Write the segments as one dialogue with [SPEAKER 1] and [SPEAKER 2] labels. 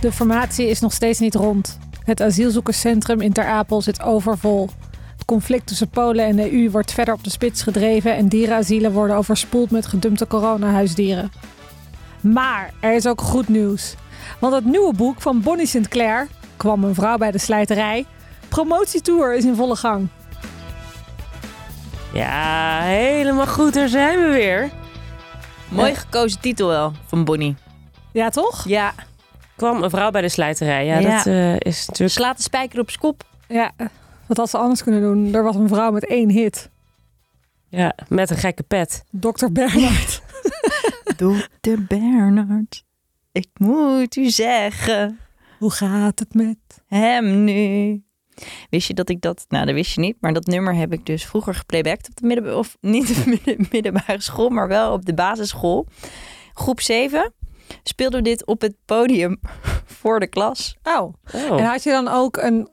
[SPEAKER 1] De formatie is nog steeds niet rond. Het asielzoekerscentrum in Ter Apel zit overvol. Het conflict tussen Polen en de EU wordt verder op de spits gedreven en dierenasielen worden overspoeld met gedumpte coronahuisdieren. Maar er is ook goed nieuws. Want het nieuwe boek van Bonnie Sinclair, Kwam een vrouw bij de slijterij, promotietour is in volle gang.
[SPEAKER 2] Ja, helemaal goed. Daar zijn we weer. Mooi gekozen titel wel van Bonnie.
[SPEAKER 1] Ja, toch?
[SPEAKER 2] Ja. Kwam een vrouw bij de slijterij. Ja,
[SPEAKER 3] Ja.
[SPEAKER 2] dat eh, is natuurlijk...
[SPEAKER 3] Slaat de spijker op zijn kop.
[SPEAKER 1] Ja, wat had ze anders kunnen doen? Er was een vrouw met één hit.
[SPEAKER 2] Ja, met een gekke pet.
[SPEAKER 1] Dr. Bernard.
[SPEAKER 3] Dokter Bernard, ik moet u zeggen,
[SPEAKER 1] Hoe gaat het met?
[SPEAKER 3] hem nu. Wist je dat ik dat, nou dat wist je niet, maar dat nummer heb ik dus vroeger geplaybacked op de middenbare, of niet op de midden- middelbare school, maar wel op de basisschool. Groep 7 speelden we dit op het podium voor de klas.
[SPEAKER 1] Oh,
[SPEAKER 2] Oh.
[SPEAKER 1] en had je dan ook een,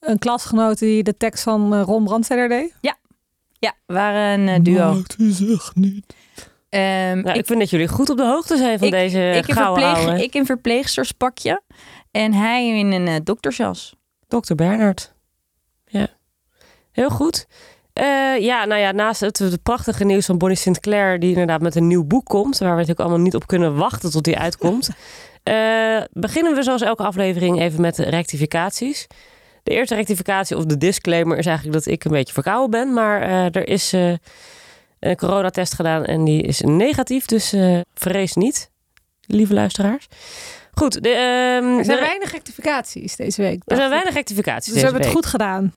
[SPEAKER 1] een klasgenoot die de tekst van eh, Ron Brandsteder deed?
[SPEAKER 3] Ja, we waren een eh, duo.
[SPEAKER 1] u zegt niet.
[SPEAKER 3] Ehm,
[SPEAKER 2] Nou, ik, vind dat jullie goed op de hoogte zijn van
[SPEAKER 3] Ik-
[SPEAKER 2] deze
[SPEAKER 3] ik, in
[SPEAKER 2] gouden
[SPEAKER 3] verpleeg,
[SPEAKER 2] eh, ouwe.
[SPEAKER 3] ik in verpleegsterspakje en hij in een eh, doktersjas.
[SPEAKER 2] Dr. Bernard. Ja, heel goed. Eh, ja, nou ja, naast het, het prachtige nieuws van Bonnie Sinclair... die inderdaad met een nieuw boek komt... waar we natuurlijk allemaal niet op kunnen wachten tot die uitkomt... eh, beginnen we zoals elke aflevering even met de rectificaties. De eerste rectificatie of de disclaimer is eigenlijk dat ik een beetje verkouden ben... maar eh, er is eh, een coronatest gedaan en die is negatief... dus eh, vrees niet, lieve luisteraars. Goed, de, ehm,
[SPEAKER 1] Er zijn
[SPEAKER 2] de-
[SPEAKER 1] weinig rectificaties deze week.
[SPEAKER 2] er
[SPEAKER 1] dacht
[SPEAKER 2] zijn
[SPEAKER 1] ik.
[SPEAKER 2] weinig rectificaties
[SPEAKER 1] Dus we
[SPEAKER 2] deze
[SPEAKER 1] hebben
[SPEAKER 2] week.
[SPEAKER 1] het goed gedaan.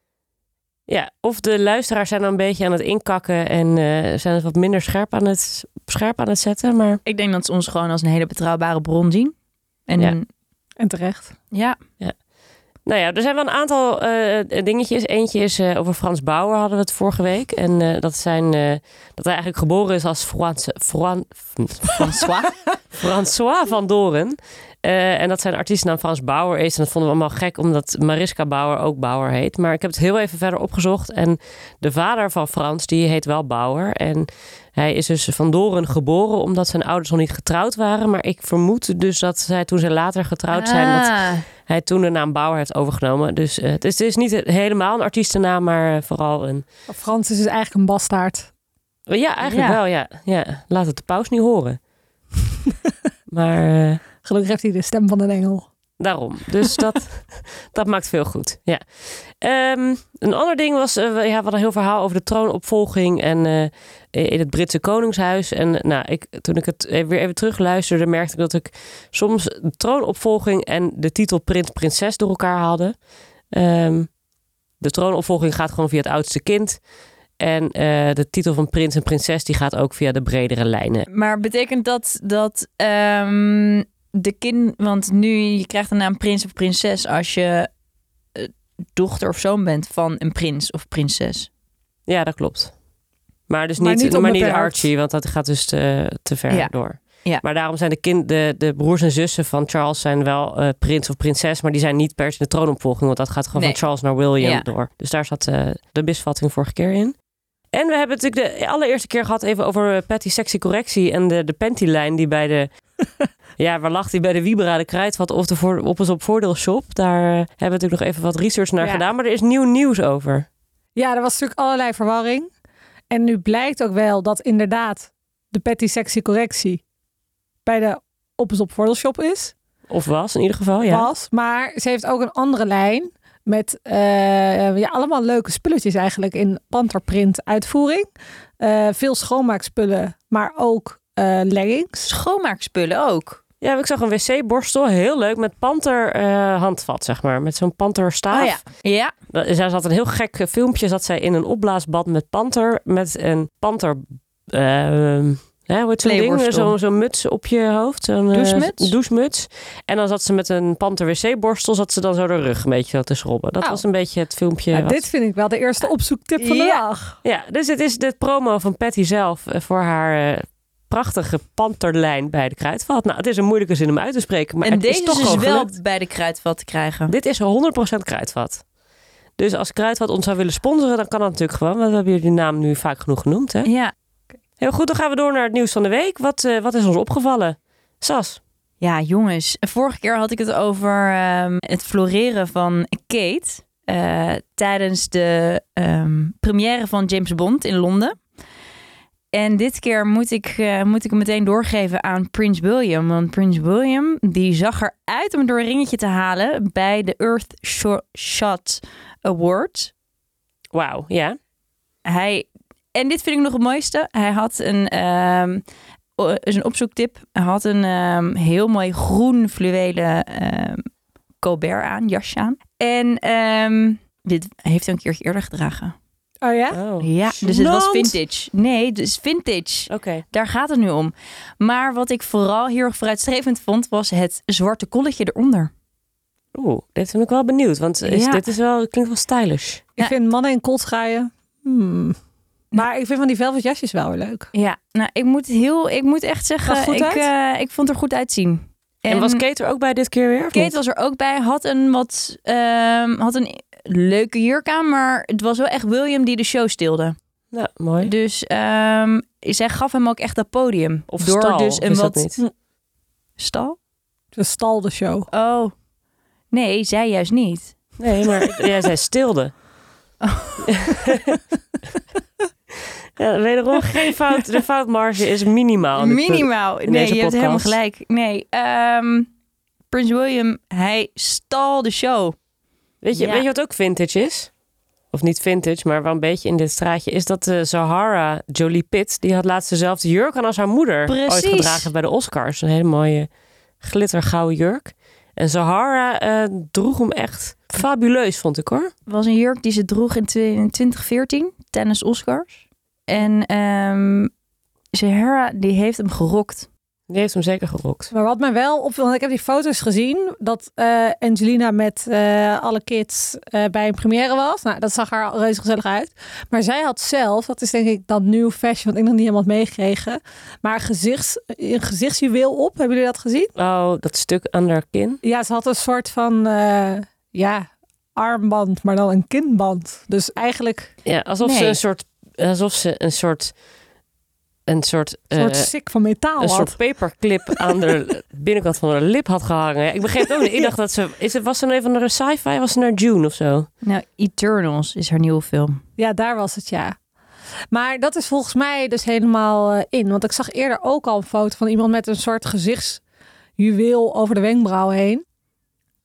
[SPEAKER 2] Ja, of de luisteraars zijn dan een beetje aan het inkakken en eh, zijn het wat minder scherp aan het, scherp aan het zetten. Maar
[SPEAKER 3] Ik denk dat ze ons gewoon als een hele betrouwbare bron zien. En
[SPEAKER 2] Ja.
[SPEAKER 3] ja,
[SPEAKER 1] En terecht.
[SPEAKER 2] nou ja, er zijn wel een aantal eh, dingetjes. Eentje is eh, over Frans Bauer hadden we het vorige week. En eh, dat, zijn, eh, dat hij eigenlijk geboren is als Franse, Fran,
[SPEAKER 3] François.
[SPEAKER 2] François van Doren. Eh, en dat zijn artiestennaam Frans Bauer is. En dat vonden we allemaal gek, omdat Mariska Bauer ook Bauer heet. Maar ik heb het heel even verder opgezocht. En de vader van Frans, die heet wel Bauer. En hij is dus van Doren geboren, omdat zijn ouders nog niet getrouwd waren. Maar ik vermoed dus dat zij toen ze later getrouwd zijn...
[SPEAKER 3] Ah.
[SPEAKER 2] dat hij toen de naam Bauer heeft overgenomen. Dus eh, het, is, het is niet helemaal een artiestennaam, maar eh, vooral een...
[SPEAKER 1] Frans is dus eigenlijk een bastaard.
[SPEAKER 2] Ja, eigenlijk
[SPEAKER 3] Ja.
[SPEAKER 2] wel, ja. ja. Laat het de paus niet horen. maar... eh,
[SPEAKER 1] Gelukkig heeft hij de stem van een engel.
[SPEAKER 2] Daarom. Dus dat, dat maakt veel goed. Ja. Ehm, een ander ding was, eh, we, ja, we hadden een heel verhaal over de troonopvolging en eh, in het Britse Koningshuis. En eh, nou, ik, toen ik het eh, weer even terugluisterde, merkte ik dat ik soms de troonopvolging en de titel prins-prinses door elkaar haalde. Ehm, de troonopvolging gaat gewoon via het oudste kind. En eh, de titel van prins en prinses die gaat ook via de bredere lijnen.
[SPEAKER 3] Maar betekent dat dat ehm, de kind... Want nu, je krijgt de naam prins of prinses als je eh, dochter of zoon bent van een prins of prinses.
[SPEAKER 2] Ja, dat klopt. Maar dus
[SPEAKER 1] Maar
[SPEAKER 2] niet,
[SPEAKER 1] niet
[SPEAKER 2] maar niet
[SPEAKER 1] onbeperkt.
[SPEAKER 2] Archie, want dat gaat dus te, te ver
[SPEAKER 3] Ja.
[SPEAKER 2] door.
[SPEAKER 3] Ja.
[SPEAKER 2] Maar daarom zijn de, kind, de, de broers en zussen van Charles zijn wel eh, prins of prinses, maar die zijn niet per se de troonopvolging, want dat gaat gewoon
[SPEAKER 3] Nee.
[SPEAKER 2] van Charles naar William
[SPEAKER 3] Ja.
[SPEAKER 2] door. Dus daar zat eh, de misvatting vorige keer in. En we hebben natuurlijk de allereerste keer gehad even over eh, Patty Sexy Correctie en de, de panty-lijn die bij de... ja, waar lag die bij de Wiebera de Kruidvat of de voor, op ons op voordeelshop? Daar eh, hebben we natuurlijk nog even wat research naar
[SPEAKER 1] Ja.
[SPEAKER 2] gedaan, maar er is nieuw nieuws over.
[SPEAKER 1] Ja, er was natuurlijk allerlei verwarring. En nu blijkt ook wel dat inderdaad de petty sexy correctie bij de op is op voordeelshop is.
[SPEAKER 2] Of was in ieder geval, ja.
[SPEAKER 1] was. Maar ze heeft ook een andere lijn met eh, ja, allemaal leuke spulletjes eigenlijk in panterprint uitvoering. Eh, veel schoonmaakspullen, maar ook eh, leggings.
[SPEAKER 3] Schoonmaakspullen ook.
[SPEAKER 2] Ja, ik zag een wc-borstel, heel leuk, met panterhandvat, zeg maar. Met zo'n panterstaaf.
[SPEAKER 3] Oh ja. Ja,
[SPEAKER 2] Dat- Zij zat een heel gek eh, filmpje, zat zij in een opblaasbad met panter, met een panter... ehm, hè, hoe heet zo'n ding?
[SPEAKER 3] Playborstel.
[SPEAKER 2] Zo'n zo'n muts op je hoofd. Zo'n, eh,
[SPEAKER 3] Douchemuts?
[SPEAKER 2] douchemuts. En dan zat ze met een panter wc-borstel, zat ze dan zo de rug een beetje zo te schrobben. Dat
[SPEAKER 1] Oh.
[SPEAKER 2] was een beetje het filmpje.
[SPEAKER 1] Nou,
[SPEAKER 2] wat-
[SPEAKER 1] dit vind ik wel de eerste opzoektip van de
[SPEAKER 3] Ja.
[SPEAKER 1] dag.
[SPEAKER 2] Ja, dus het is de promo van Patty zelf eh, voor haar eh, prachtige panterlijn bij de Kruidvat. Nou, het is een moeilijke zin om uit te spreken, maar
[SPEAKER 3] en
[SPEAKER 2] het
[SPEAKER 3] deze
[SPEAKER 2] is toch
[SPEAKER 3] is, dus
[SPEAKER 2] gewoon
[SPEAKER 3] wel
[SPEAKER 2] gelukt.
[SPEAKER 3] bij de kruidvat te krijgen.
[SPEAKER 2] Dit is 100% Kruidvat. Dus als Kruidvat ons zou willen sponsoren, dan kan dat natuurlijk gewoon. Want we hebben jullie naam nu vaak genoeg genoemd, hè?
[SPEAKER 3] Ja.
[SPEAKER 2] Heel goed, dan gaan we door naar het nieuws van de week. Wat, eh, wat is ons opgevallen? Sas,
[SPEAKER 3] Ja, jongens. Vorige keer had ik het over ehm, het floreren van Kate. eh, tijdens de ehm, première van James Bond in Londen. En dit keer moet ik, eh, moet ik hem meteen doorgeven aan Prins William. Want Prins William die zag eruit om door een ringetje te halen bij de Earth Sho- Shot Award.
[SPEAKER 2] Wauw, ja.
[SPEAKER 3] Hij, en dit vind ik nog het mooiste. Hij had een, ehm o- is een opzoektip. Hij had een ehm, heel mooi groen fluwelen ehm colbert aan, jasje aan. En ehm, dit heeft hij een keertje eerder gedragen.
[SPEAKER 1] Oh ja?
[SPEAKER 2] Oh. Oké.
[SPEAKER 3] Ja, dus het was
[SPEAKER 1] Gênant.
[SPEAKER 3] vintage. Nee, dus vintage. Daar gaat het nu om. Maar wat ik vooral heel erg vooruitstrevend vond, was het zwarte kolletje eronder.
[SPEAKER 2] Oeh, dit ben ik wel benieuwd, want is,
[SPEAKER 3] Ja.
[SPEAKER 2] dit is wel, klinkt wel stylish.
[SPEAKER 1] Ik
[SPEAKER 3] Ja.
[SPEAKER 1] vind mannen in koltraaien. Hmm. Maar ik vind van die velvet jasjes wel weer leuk.
[SPEAKER 3] Ja, nou, ik moet, heel, ik moet echt zeggen,
[SPEAKER 1] Zag goed
[SPEAKER 3] ik,
[SPEAKER 1] uit?
[SPEAKER 3] eh, ik vond het er goed uitzien.
[SPEAKER 2] En, was Kate er ook bij dit keer weer? of niet?
[SPEAKER 3] Kate was er ook bij, had een wat ehm, had een leuke jurk aan, maar het was wel echt William die de show stilde.
[SPEAKER 2] Nou, mooi.
[SPEAKER 3] Dus ehm, zij gaf hem ook echt dat podium. dus
[SPEAKER 2] Of stal, of is dat niet?
[SPEAKER 3] stal?
[SPEAKER 1] De stal de show.
[SPEAKER 3] Oh, nee, zij juist niet.
[SPEAKER 2] Nee, maar ja, zij stilde.
[SPEAKER 3] Oh.
[SPEAKER 2] ja, wederom geen fout. De foutmarge Oh, is minimaal. in dit punt.
[SPEAKER 3] Minimaal.
[SPEAKER 2] in
[SPEAKER 3] Nee,
[SPEAKER 2] deze
[SPEAKER 3] je hebt helemaal
[SPEAKER 2] podcast.
[SPEAKER 3] gelijk. Nee, ehm, Prins William, hij stal de show.
[SPEAKER 2] Weet je,
[SPEAKER 3] Ja.
[SPEAKER 2] weet je wat ook vintage is? Of niet vintage, maar wel een beetje in dit straatje. Is dat eh Zahara Jolie Pitt. Die had laatst dezelfde jurk aan als haar moeder. Ooit
[SPEAKER 3] Precies.
[SPEAKER 2] gedragen bij de Oscars. Een hele mooie glittergouden jurk. En Zahara eh, droeg hem echt fabuleus, vond ik hoor.
[SPEAKER 3] was een jurk die ze droeg in twe- in 2014 tijdens Oscars. En ehm Sahara die heeft hem gerokt.
[SPEAKER 2] Die heeft hem zeker gerokt.
[SPEAKER 1] Maar wat mij wel opviel, want ik heb die foto's gezien, dat eh, Angelina met eh, alle kids eh, bij een première was. Nou, dat zag haar reuze gezellig uit. Maar zij had zelf, dat is denk ik dat nieuw fashion, wat ik nog niet helemaal had meegekregen, maar gezichts, een gezichtsjuweel op. Hebben jullie dat gezien?
[SPEAKER 2] Oh, dat stuk aan haar kin.
[SPEAKER 1] Ja, ze had een soort van, eh, ja, armband, maar dan een kinband. Dus eigenlijk
[SPEAKER 2] Ja, alsof ze
[SPEAKER 3] Nee.
[SPEAKER 2] een soort... Alsof ze een soort... Een soort...
[SPEAKER 1] een soort
[SPEAKER 2] eh,
[SPEAKER 1] sik van metaal
[SPEAKER 2] een
[SPEAKER 1] had.
[SPEAKER 2] soort paperclip aan de binnenkant van haar lip had gehangen. Ja, Ik begreep het ook niet. Ik dacht dat ze... Is het, was ze nou een van de sci-fi? Was ze naar June of zo?
[SPEAKER 3] Nou, Eternals is haar nieuwe film.
[SPEAKER 1] Ja, daar was het ja. Maar dat is volgens mij dus helemaal eh, in. Want ik zag eerder ook al een foto van iemand met een soort gezichtsjuweel over de wenkbrauw heen.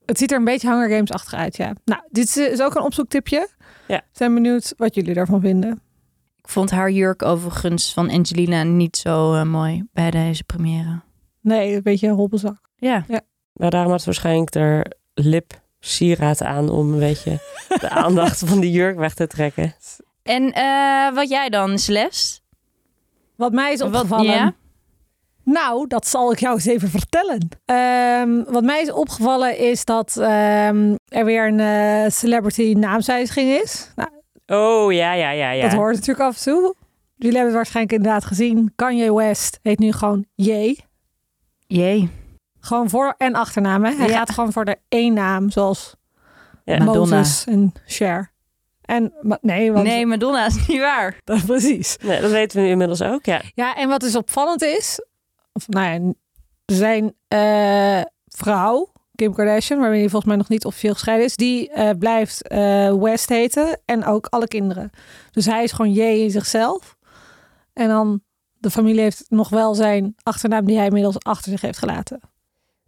[SPEAKER 1] Het ziet er een beetje Hunger Games achtig uit, ja. Nou, dit is, is ook een opzoektipje.
[SPEAKER 2] Ja.
[SPEAKER 1] Zijn benieuwd wat jullie daarvan vinden.
[SPEAKER 3] Ik vond haar jurk overigens van Angelina niet zo eh, mooi bij deze première.
[SPEAKER 1] Nee, een beetje een hobbelzak.
[SPEAKER 3] Ja,
[SPEAKER 2] Maar daarom had ze waarschijnlijk haar lip sieraad aan om een beetje de aandacht van die jurk weg te trekken.
[SPEAKER 3] en eh, wat jij dan, Celeste?
[SPEAKER 1] Wat mij is
[SPEAKER 3] Wat-
[SPEAKER 1] opgevallen.
[SPEAKER 3] ja?
[SPEAKER 1] Nou, dat zal ik jou eens even vertellen. Ehm, wat mij is opgevallen is dat ehm, er weer een eh, celebrity naamswijziging is. Nou,
[SPEAKER 2] Oh, ja, ja, ja, ja.
[SPEAKER 1] Dat hoort natuurlijk af en toe. Jullie hebben het waarschijnlijk inderdaad gezien. Kanye West heet nu gewoon J.
[SPEAKER 3] Jee,
[SPEAKER 1] Gewoon voor- en achternaam. Hè? Hij
[SPEAKER 3] Ja.
[SPEAKER 1] gaat gewoon voor de één naam, zoals
[SPEAKER 2] Ja.
[SPEAKER 3] Madonna.
[SPEAKER 1] Moses en Cher. En, maar- nee, want,
[SPEAKER 3] Nee, Madonna is niet waar.
[SPEAKER 1] dat, precies.
[SPEAKER 2] Nee, dat weten we nu inmiddels ook, ja.
[SPEAKER 1] Ja, en wat dus opvallend is, of, nou ja, zijn eh, vrouw, Kim Kardashian, waarmee hij volgens mij nog niet officieel gescheiden is, die eh, blijft eh, West heten en ook alle kinderen. Dus hij is gewoon J in zichzelf. En dan de familie heeft nog wel zijn achternaam die hij inmiddels achter zich heeft gelaten.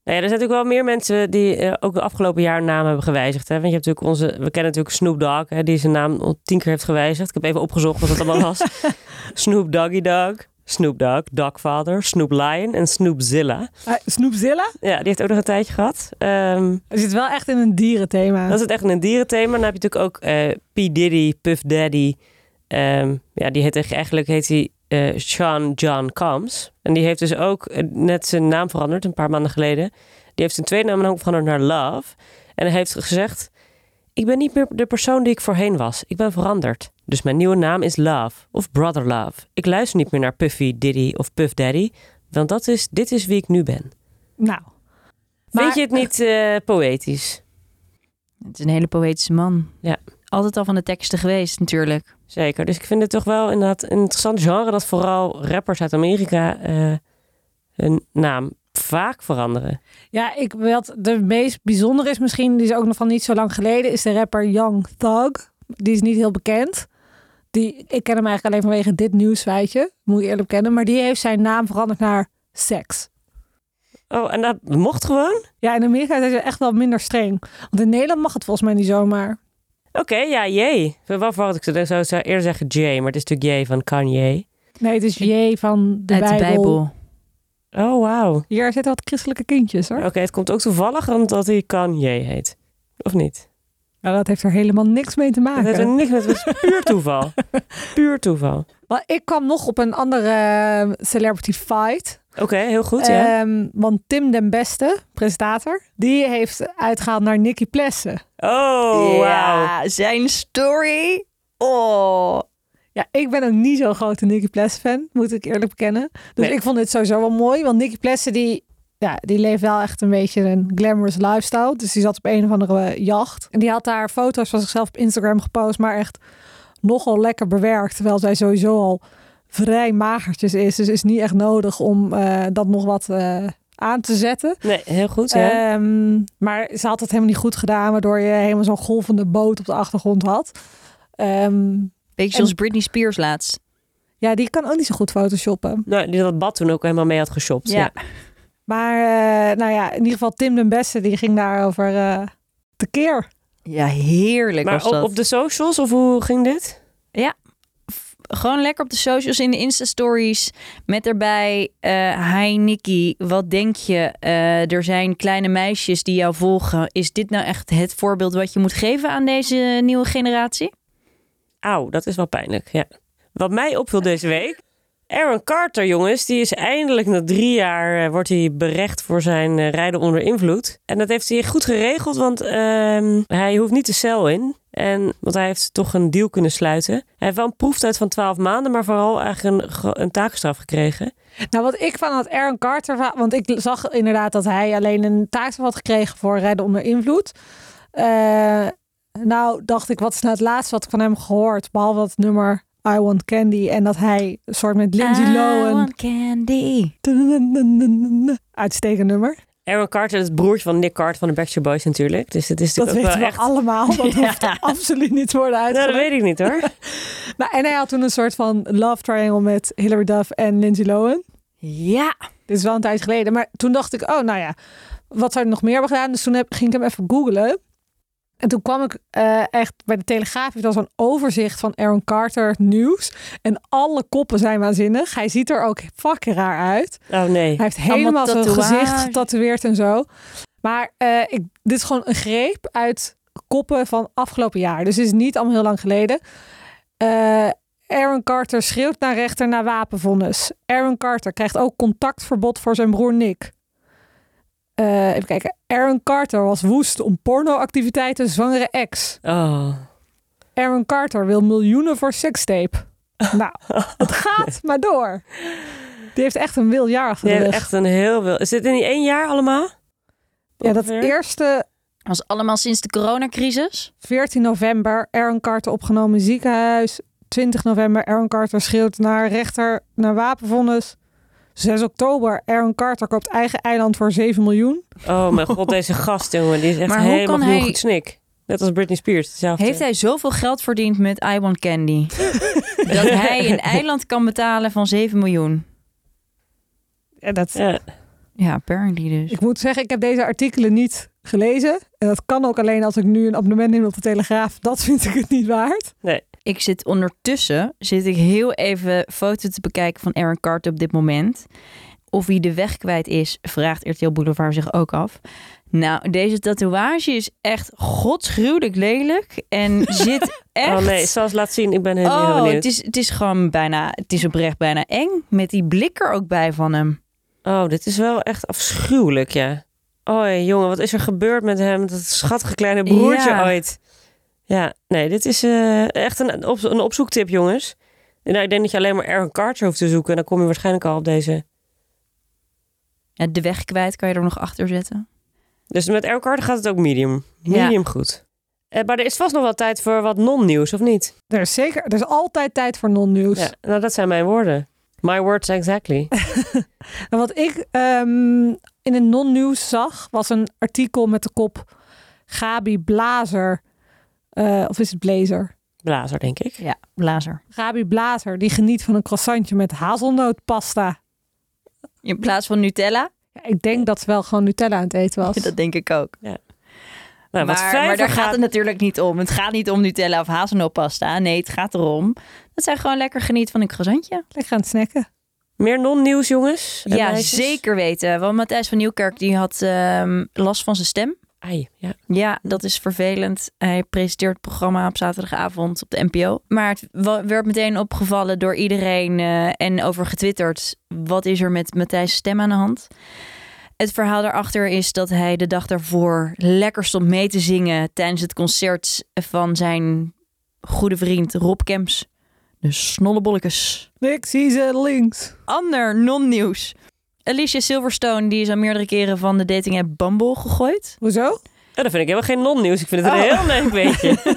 [SPEAKER 2] Nou ja, er zijn natuurlijk wel meer mensen die eh, ook de afgelopen jaar hun naam hebben gewijzigd. Hè? Want je hebt natuurlijk onze, we kennen natuurlijk Snoop Dogg, hè, die zijn naam al tien keer heeft gewijzigd. Ik heb even opgezocht wat het allemaal was. Snoop Doggy Dogg, Snoop Dogg, Dogfather, Snoop Lion en Snoopzilla.
[SPEAKER 1] Eh, Snoepzilla?
[SPEAKER 2] Ja, die heeft ook nog een tijdje gehad. Ehm,
[SPEAKER 1] Hij zit wel echt in een dierenthema.
[SPEAKER 2] Dat is het echt een dierenthema. Dan heb je natuurlijk ook eh P. Diddy, Puff Daddy. Ehm, ja, die heet echt- eigenlijk heet hij eh, Sean John Combs. En die heeft dus ook eh, net zijn naam veranderd een paar maanden geleden. Die heeft zijn tweede naam ook veranderd naar Love. En hij heeft gezegd: Ik ben niet meer de persoon die ik voorheen was. Ik ben veranderd. Dus mijn nieuwe naam is Love of Brother Love. Ik luister niet meer naar Puffy, Diddy of Puff Daddy. Want dat is, dit is wie ik nu ben.
[SPEAKER 1] Nou.
[SPEAKER 2] Vind je het niet eh, poëtisch?
[SPEAKER 3] Het is een hele poëtische man.
[SPEAKER 2] Ja.
[SPEAKER 3] Altijd al van de teksten geweest natuurlijk.
[SPEAKER 2] Zeker. Dus ik vind het toch wel inderdaad een interessant genre dat vooral rappers uit Amerika eh, hun naam vaak veranderen.
[SPEAKER 1] Ja, ik, wat de meest bijzondere is misschien, die is ook nog van niet zo lang geleden, is de rapper Young Thug. Die is niet heel bekend. Die, ik ken hem eigenlijk alleen vanwege dit nieuwsfeitje, moet ik eerlijk kennen. Maar die heeft zijn naam veranderd naar Sex.
[SPEAKER 2] Oh, en dat mocht gewoon?
[SPEAKER 1] Ja, in Amerika zijn ze echt wel minder streng. Want in Nederland mag het volgens mij niet zomaar.
[SPEAKER 2] Oké, ja, jee. Waarvoor had ik ze? Dan zou ik eerder zeggen Jay, maar het is natuurlijk Jay van Kanye.
[SPEAKER 1] Nee, het is J van de,
[SPEAKER 3] Uit
[SPEAKER 1] Bijbel.
[SPEAKER 3] de Bijbel.
[SPEAKER 2] Oh, wauw.
[SPEAKER 1] Hier zitten wat christelijke kindjes hoor.
[SPEAKER 2] Oké, het komt ook toevallig omdat hij Kanye heet. Of niet?
[SPEAKER 1] Nou, dat heeft er helemaal niks mee te
[SPEAKER 2] Dat heeft er
[SPEAKER 1] maken.
[SPEAKER 2] niks met... Het is puur toeval. Puur toeval.
[SPEAKER 1] Maar ik kwam nog op een andere eh, celebrity fight.
[SPEAKER 2] Oké, heel goed, ja.
[SPEAKER 1] Ehm, want Tim den Beste, presentator, die heeft uitgehaald naar Nicky Plessen.
[SPEAKER 2] Oh, wauw.
[SPEAKER 3] Ja, zijn story. Oh.
[SPEAKER 1] Ja, ik ben ook niet zo'n grote Nicky Plessen fan, moet ik eerlijk bekennen. Dus
[SPEAKER 2] Nee.
[SPEAKER 1] ik vond dit sowieso wel mooi, want Nicky Plessen die, ja, die leeft wel echt een beetje een glamorous lifestyle. Dus die zat op een of andere jacht. En die had daar foto's van zichzelf op Instagram gepost, maar echt nogal lekker bewerkt. Terwijl zij sowieso al vrij magertjes is. Dus is niet echt nodig om eh, dat nog wat eh, aan te zetten.
[SPEAKER 2] Nee, heel goed, ja.
[SPEAKER 1] Ehm, maar ze had het helemaal niet goed gedaan, waardoor je helemaal zo'n golvende boot op de achtergrond had. Ehm,
[SPEAKER 3] Beetje zoals Britney Spears laatst.
[SPEAKER 1] ja, die kan ook niet zo goed photoshoppen.
[SPEAKER 2] Nou, die dat bad toen ook helemaal mee had geshopt. Ja.
[SPEAKER 1] Maar eh, nou ja, in ieder geval Tim den Beste, die ging daarover eh tekeer.
[SPEAKER 3] ja heerlijk
[SPEAKER 2] Maar
[SPEAKER 3] was dat.
[SPEAKER 2] op, op de socials, of hoe ging dit?
[SPEAKER 3] Gewoon lekker op de socials, in de Insta-stories. Met erbij, eh, hi Nikki, wat denk je? Eh, er zijn kleine meisjes die jou volgen. Is dit nou echt het voorbeeld wat je moet geven aan deze nieuwe generatie?
[SPEAKER 2] Auw, dat is wel pijnlijk, ja. Wat mij opviel deze week... Aaron Carter, jongens, die is eindelijk na drie jaar... eh, wordt hij berecht voor zijn eh, rijden onder invloed. En dat heeft hij goed geregeld, want ehm, hij hoeft niet de cel in. En, want hij heeft toch een deal kunnen sluiten. Hij heeft wel een proeftijd van 12 maanden... maar vooral eigenlijk een, gro- een taakstraf gekregen.
[SPEAKER 1] Nou, wat ik van had Aaron Carter, va- want ik zag inderdaad dat hij alleen een taakstraf had gekregen voor rijden onder invloed. Eh, nou, dacht ik, wat is nou het laatste wat ik van hem gehoord? Behalve dat nummer I Want Candy en dat hij een soort met Lindsay
[SPEAKER 3] I
[SPEAKER 1] Lohan...
[SPEAKER 3] want candy.
[SPEAKER 1] Uitstekend nummer.
[SPEAKER 2] Aaron Carter, dat is het broertje van Nick Carter van de Backstreet Boys natuurlijk. Dus het is
[SPEAKER 1] Dat
[SPEAKER 2] natuurlijk ook
[SPEAKER 1] weten
[SPEAKER 2] wel
[SPEAKER 1] we
[SPEAKER 2] echt...
[SPEAKER 1] allemaal. Dat hoeft
[SPEAKER 3] Ja.
[SPEAKER 1] absoluut niet te worden
[SPEAKER 2] Nou, dat
[SPEAKER 1] uitgelegd.
[SPEAKER 2] weet ik niet hoor.
[SPEAKER 1] Nou, en hij had toen een soort van love triangle met Hilary Duff en Lindsay Lohan.
[SPEAKER 3] Ja.
[SPEAKER 1] Dit is wel een tijd geleden. Maar toen dacht ik, oh nou ja, wat zou er nog meer hebben gedaan? Dus toen heb, ging ik hem even googlen. En toen kwam ik eh, echt bij de Telegraaf. heeft al zo'n overzicht van Aaron Carter nieuws. En alle koppen zijn waanzinnig. Hij ziet er ook fucking raar uit.
[SPEAKER 2] Oh nee.
[SPEAKER 1] Hij heeft
[SPEAKER 3] Allemaal
[SPEAKER 1] helemaal zijn
[SPEAKER 3] tatoeage.
[SPEAKER 1] gezicht getatoeëerd en zo. Maar eh, ik, dit is gewoon een greep uit koppen van afgelopen jaar. Dus het is niet allemaal heel lang geleden. Eh, Aaron Carter schreeuwt naar rechter na wapenvonnis. Aaron Carter krijgt ook contactverbod voor zijn broer Nick. Eh, even kijken. Aaron Carter was woest om pornoactiviteiten zwangere ex.
[SPEAKER 2] Oh.
[SPEAKER 1] Aaron Carter wil miljoenen voor sekstape. Nou, het gaat maar door. Die heeft echt een wiljaar achter
[SPEAKER 2] Die
[SPEAKER 1] de
[SPEAKER 2] heeft
[SPEAKER 1] rug.
[SPEAKER 2] echt een heel veel. Is dit in die één jaar allemaal?
[SPEAKER 1] Ja, dat
[SPEAKER 2] Ongeveer?
[SPEAKER 1] eerste
[SPEAKER 3] Was allemaal sinds de coronacrisis.
[SPEAKER 1] 14 november, Aaron Carter opgenomen in ziekenhuis. 20 november, Aaron Carter schreeuwt naar rechter naar wapenvonnis. 6 oktober, Aaron Carter koopt eigen eiland voor 7 miljoen.
[SPEAKER 2] Oh mijn god, deze gast jongen, die is echt
[SPEAKER 3] Maar hoe
[SPEAKER 2] helemaal
[SPEAKER 3] kan
[SPEAKER 2] heel
[SPEAKER 3] hij-
[SPEAKER 2] goed snik. Net als Britney Spears. Hetzelfde.
[SPEAKER 3] Heeft hij zoveel geld verdiend met I Want Candy? dat hij een eiland kan betalen van 7 miljoen.
[SPEAKER 1] En dat...
[SPEAKER 2] Ja.
[SPEAKER 3] Ja, apparently dus.
[SPEAKER 1] Ik moet zeggen, ik heb deze artikelen niet gelezen. En dat kan ook alleen als ik nu een abonnement neem op de Telegraaf. Dat vind ik het niet waard.
[SPEAKER 3] Ik zit ondertussen, zit ik heel even foto te bekijken van Aaron Carter op dit moment. Of hij de weg kwijt is, vraagt RTL Boulevard zich ook af. Nou, deze tatoeage is echt godsgruwelijk lelijk. En zit echt...
[SPEAKER 2] Oh nee, Sas laat zien. Ik ben heel, heel
[SPEAKER 3] Oh,
[SPEAKER 2] benieuwd.
[SPEAKER 3] het is, het is gewoon bijna... Het is oprecht bijna eng. Met die blik er ook bij van hem.
[SPEAKER 2] Oh, dit is wel echt afschuwelijk, ja. Oei, jongen, wat is er gebeurd met hem? Dat schattige kleine broertje
[SPEAKER 3] Ja.
[SPEAKER 2] ooit. Ja, nee, dit is eh, echt een, op, een opzoektip, jongens. Nou, ik denk dat je alleen maar Aaron Carter hoeft te zoeken. En dan kom je waarschijnlijk al op deze.
[SPEAKER 3] Ja, de weg kwijt kan je er nog achter zetten.
[SPEAKER 2] Dus met Aaron Carter gaat het ook medium. Medium goed. Eh, maar er is vast nog wel tijd voor wat non-nieuws, of niet?
[SPEAKER 1] Er is zeker, er is altijd tijd voor non-nieuws.
[SPEAKER 2] Ja, nou, dat zijn mijn woorden. My words exactly.
[SPEAKER 1] En wat ik ehm, in een non-nieuws zag, was een artikel met de kop Gabi Blazer. eh, of is het Blazer?
[SPEAKER 2] Blazer, denk ik.
[SPEAKER 3] Ja, blazer.
[SPEAKER 1] Gabi Blazer, die geniet van een croissantje met hazelnootpasta.
[SPEAKER 3] In plaats van Nutella?
[SPEAKER 1] Ja, ik denk dat ze wel gewoon Nutella aan het eten was.
[SPEAKER 3] Dat denk ik ook.
[SPEAKER 2] Nou, wat
[SPEAKER 3] maar, maar daar
[SPEAKER 2] gaat,
[SPEAKER 3] gaat het natuurlijk niet om. Het gaat niet om Nutella of hazelnooppasta. Nee, het gaat erom dat zij gewoon lekker geniet van een croissantje.
[SPEAKER 1] Lekker aan het snacken.
[SPEAKER 2] Meer non-nieuws, jongens. en
[SPEAKER 3] ja,
[SPEAKER 2] meisjes?
[SPEAKER 3] zeker weten. Want Matthijs van Nieuwkerk die had ehm, last van zijn stem.
[SPEAKER 2] Ai, ja.
[SPEAKER 3] Ja, dat is vervelend. Hij presenteert het programma op zaterdagavond op de NPO. Maar het wa- werd meteen opgevallen door iedereen eh, en over getwitterd. Wat is er met Matthijs' stem aan de hand? Het verhaal daarachter is dat hij de dag daarvoor lekker stond mee te zingen tijdens het concert van zijn goede vriend Rob Kemps. De snollebollekes.
[SPEAKER 1] Ik zie ze links.
[SPEAKER 3] Ander non-nieuws. Alicia Silverstone die is al meerdere keren van de dating app Bumble gegooid.
[SPEAKER 1] Hoezo?
[SPEAKER 2] Oh, dat vind ik helemaal geen non-nieuws. Ik vind het een
[SPEAKER 3] Oh.
[SPEAKER 2] heel leuk beetje.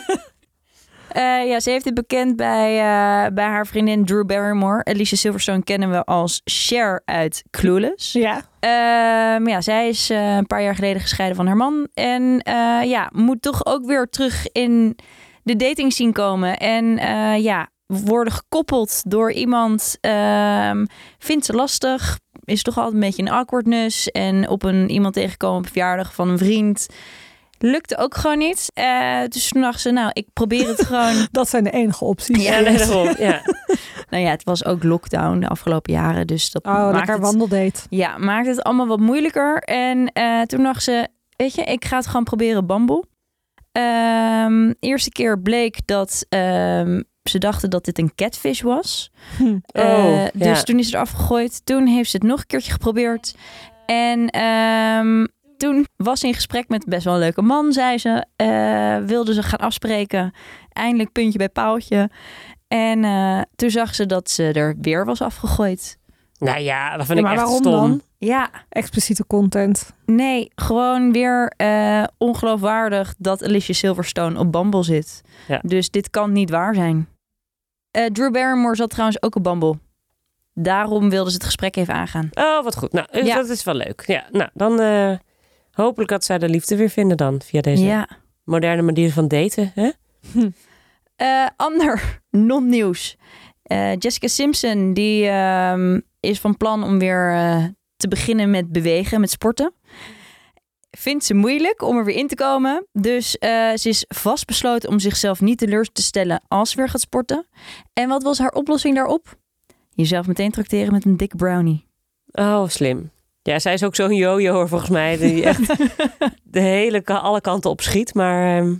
[SPEAKER 3] Eh, ja, ze heeft het bekend bij, eh, bij haar vriendin Drew Barrymore. Alicia Silverstone kennen we als Cher uit Clueless.
[SPEAKER 1] Ja.
[SPEAKER 3] Ehm, ja, zij is eh, een paar jaar geleden gescheiden van haar man. En eh, ja, moet toch ook weer terug in de dating scene komen. En eh, ja, worden gekoppeld door iemand. ehm, vindt ze lastig. Is toch altijd een beetje een awkwardness. En op een iemand tegenkomen op een verjaardag van een vriend. Lukte ook gewoon niet. Eh, dus toen dacht ze, nou, ik probeer het gewoon.
[SPEAKER 1] Dat zijn de enige opties.
[SPEAKER 2] Ja, nee, daarom. Ja.
[SPEAKER 3] nou ja, het was ook lockdown de afgelopen jaren. Dus dat
[SPEAKER 1] Oh,
[SPEAKER 3] maakt
[SPEAKER 1] lekker
[SPEAKER 3] het
[SPEAKER 1] wandeldate.
[SPEAKER 3] ja, maakt het allemaal wat moeilijker. En eh, toen dacht ze, weet je, ik ga het gewoon proberen Bumble. Ehm, eerste keer bleek dat ehm, ze dachten dat dit een catfish was.
[SPEAKER 1] Hm.
[SPEAKER 2] Oh,
[SPEAKER 3] Eh,
[SPEAKER 2] ja.
[SPEAKER 3] Dus toen is het afgegooid. Toen heeft ze het nog een keertje geprobeerd. En ehm, toen was ze in gesprek met best wel een leuke man, zei ze. Eh, wilden ze gaan afspreken. Eindelijk puntje bij paaltje. En eh, toen zag ze dat ze er weer was afgegooid.
[SPEAKER 2] Nou ja, dat vind
[SPEAKER 1] Ja,
[SPEAKER 2] ik
[SPEAKER 1] maar
[SPEAKER 2] echt
[SPEAKER 1] waarom
[SPEAKER 2] stom.
[SPEAKER 1] dan?
[SPEAKER 3] Ja,
[SPEAKER 1] Expliciete content.
[SPEAKER 3] Nee, gewoon weer eh, ongeloofwaardig dat Alicia Silverstone op Bumble zit.
[SPEAKER 2] Ja.
[SPEAKER 3] Dus dit kan niet waar zijn. Eh, Drew Barrymore zat trouwens ook op Bumble. Daarom wilden ze het gesprek even aangaan.
[SPEAKER 2] Oh, wat goed. Nou, eh,
[SPEAKER 3] Ja.
[SPEAKER 2] dat is wel leuk. Ja, nou, dan eh, hopelijk dat zij de liefde weer vinden dan. Via deze
[SPEAKER 3] Ja.
[SPEAKER 2] moderne manier van daten. Hè?
[SPEAKER 3] Eh, ander non-nieuws. Eh, Jessica Simpson die ehm, is van plan om weer eh, te beginnen met bewegen, met sporten. Vindt ze moeilijk om er weer in te komen. Dus eh, ze is vastbesloten om zichzelf niet teleur te stellen als ze weer gaat sporten. En wat was haar oplossing daarop? Jezelf meteen tracteren met een dikke brownie.
[SPEAKER 2] Oh, slim. Ja, zij is ook zo'n jojo volgens mij. Die echt de hele, ka- alle kanten op schiet. Maar ehm,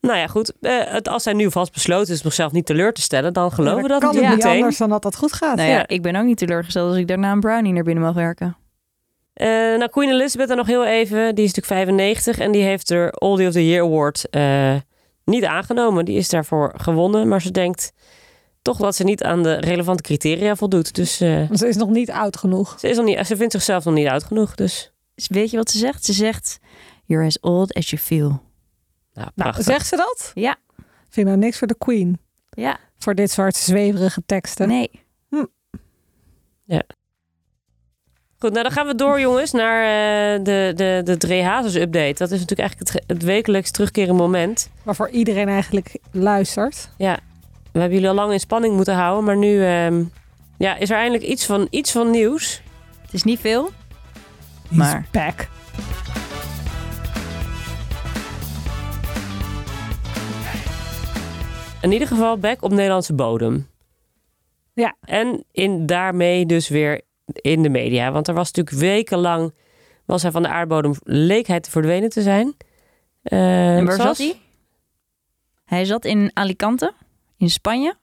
[SPEAKER 2] nou ja, goed. Eh, het, als zij nu vastbesloten is om zichzelf niet teleur te stellen, dan geloven
[SPEAKER 1] Ja,
[SPEAKER 2] we
[SPEAKER 1] dan kan
[SPEAKER 2] dat natuurlijk
[SPEAKER 1] het niet
[SPEAKER 2] meteen.
[SPEAKER 1] anders dan dat dat goed gaat.
[SPEAKER 3] Nou ja,
[SPEAKER 2] Ja.
[SPEAKER 3] ik ben ook niet teleurgesteld als ik daarna een brownie naar binnen mag werken.
[SPEAKER 2] Eh, nou, Queen Elizabeth dan nog heel even. Die is natuurlijk 95 en die heeft de Oldie of the Year Award eh, niet aangenomen. Die is daarvoor gewonnen, maar ze denkt toch dat ze niet aan de relevante criteria voldoet. Dus eh,
[SPEAKER 1] Want Ze is nog niet oud genoeg.
[SPEAKER 2] ze, is nog niet, ze vindt zichzelf nog niet oud genoeg. Dus
[SPEAKER 3] Dus weet je wat ze zegt? Ze zegt, you're as old as you feel.
[SPEAKER 2] nou,
[SPEAKER 1] Nou,
[SPEAKER 2] prachtig.
[SPEAKER 1] zegt ze dat?
[SPEAKER 3] Ja.
[SPEAKER 1] Vind nou niks voor de queen.
[SPEAKER 3] Ja,
[SPEAKER 1] Voor dit soort zweverige teksten.
[SPEAKER 3] nee.
[SPEAKER 2] Goed, nou dan gaan we door jongens naar eh, de, de, de Dre Hazes update. Dat is natuurlijk eigenlijk het, het wekelijks terugkerende moment.
[SPEAKER 1] Waarvoor iedereen eigenlijk luistert.
[SPEAKER 2] We hebben jullie al lang in spanning moeten houden, maar nu ehm, ja, is er eindelijk iets van, iets van nieuws.
[SPEAKER 3] Het is niet veel,
[SPEAKER 1] He's
[SPEAKER 3] Maar-
[SPEAKER 1] back.
[SPEAKER 2] In ieder geval back op Nederlandse bodem.
[SPEAKER 1] Ja.
[SPEAKER 2] En in, daarmee dus weer in de media. Want er was natuurlijk wekenlang... was hij van de aardbodem... leek hij te verdwenen te zijn. Eh,
[SPEAKER 3] En waar
[SPEAKER 2] zoals-
[SPEAKER 3] zat hij? Hij zat in Alicante, in Spanje.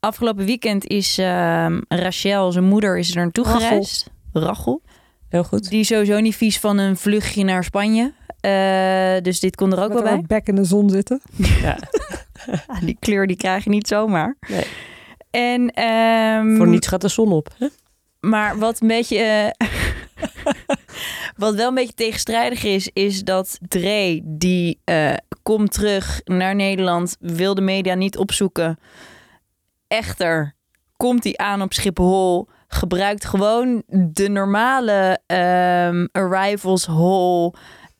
[SPEAKER 3] Afgelopen weekend is ehm, Rachel, zijn moeder, is er naartoe
[SPEAKER 1] Rachel.
[SPEAKER 3] gereisd. Rachel.
[SPEAKER 2] Heel goed.
[SPEAKER 3] Die is sowieso niet vies van een vluchtje naar Spanje. Eh, dus dit kon er ook
[SPEAKER 1] Met
[SPEAKER 3] wel bij.
[SPEAKER 1] haar bek in de zon zitten.
[SPEAKER 2] Ja,
[SPEAKER 3] Ah, die kleur die krijg je niet zomaar.
[SPEAKER 2] Nee.
[SPEAKER 3] En, ehm,
[SPEAKER 2] voor niets gaat de zon op. hè?
[SPEAKER 3] Maar wat een beetje. eh, wat wel een beetje tegenstrijdig is, is dat Dre, die eh, komt terug naar Nederland, wil de media niet opzoeken. Echter, komt hij aan op Schiphol, gebruikt gewoon de normale ehm, arrivals hall.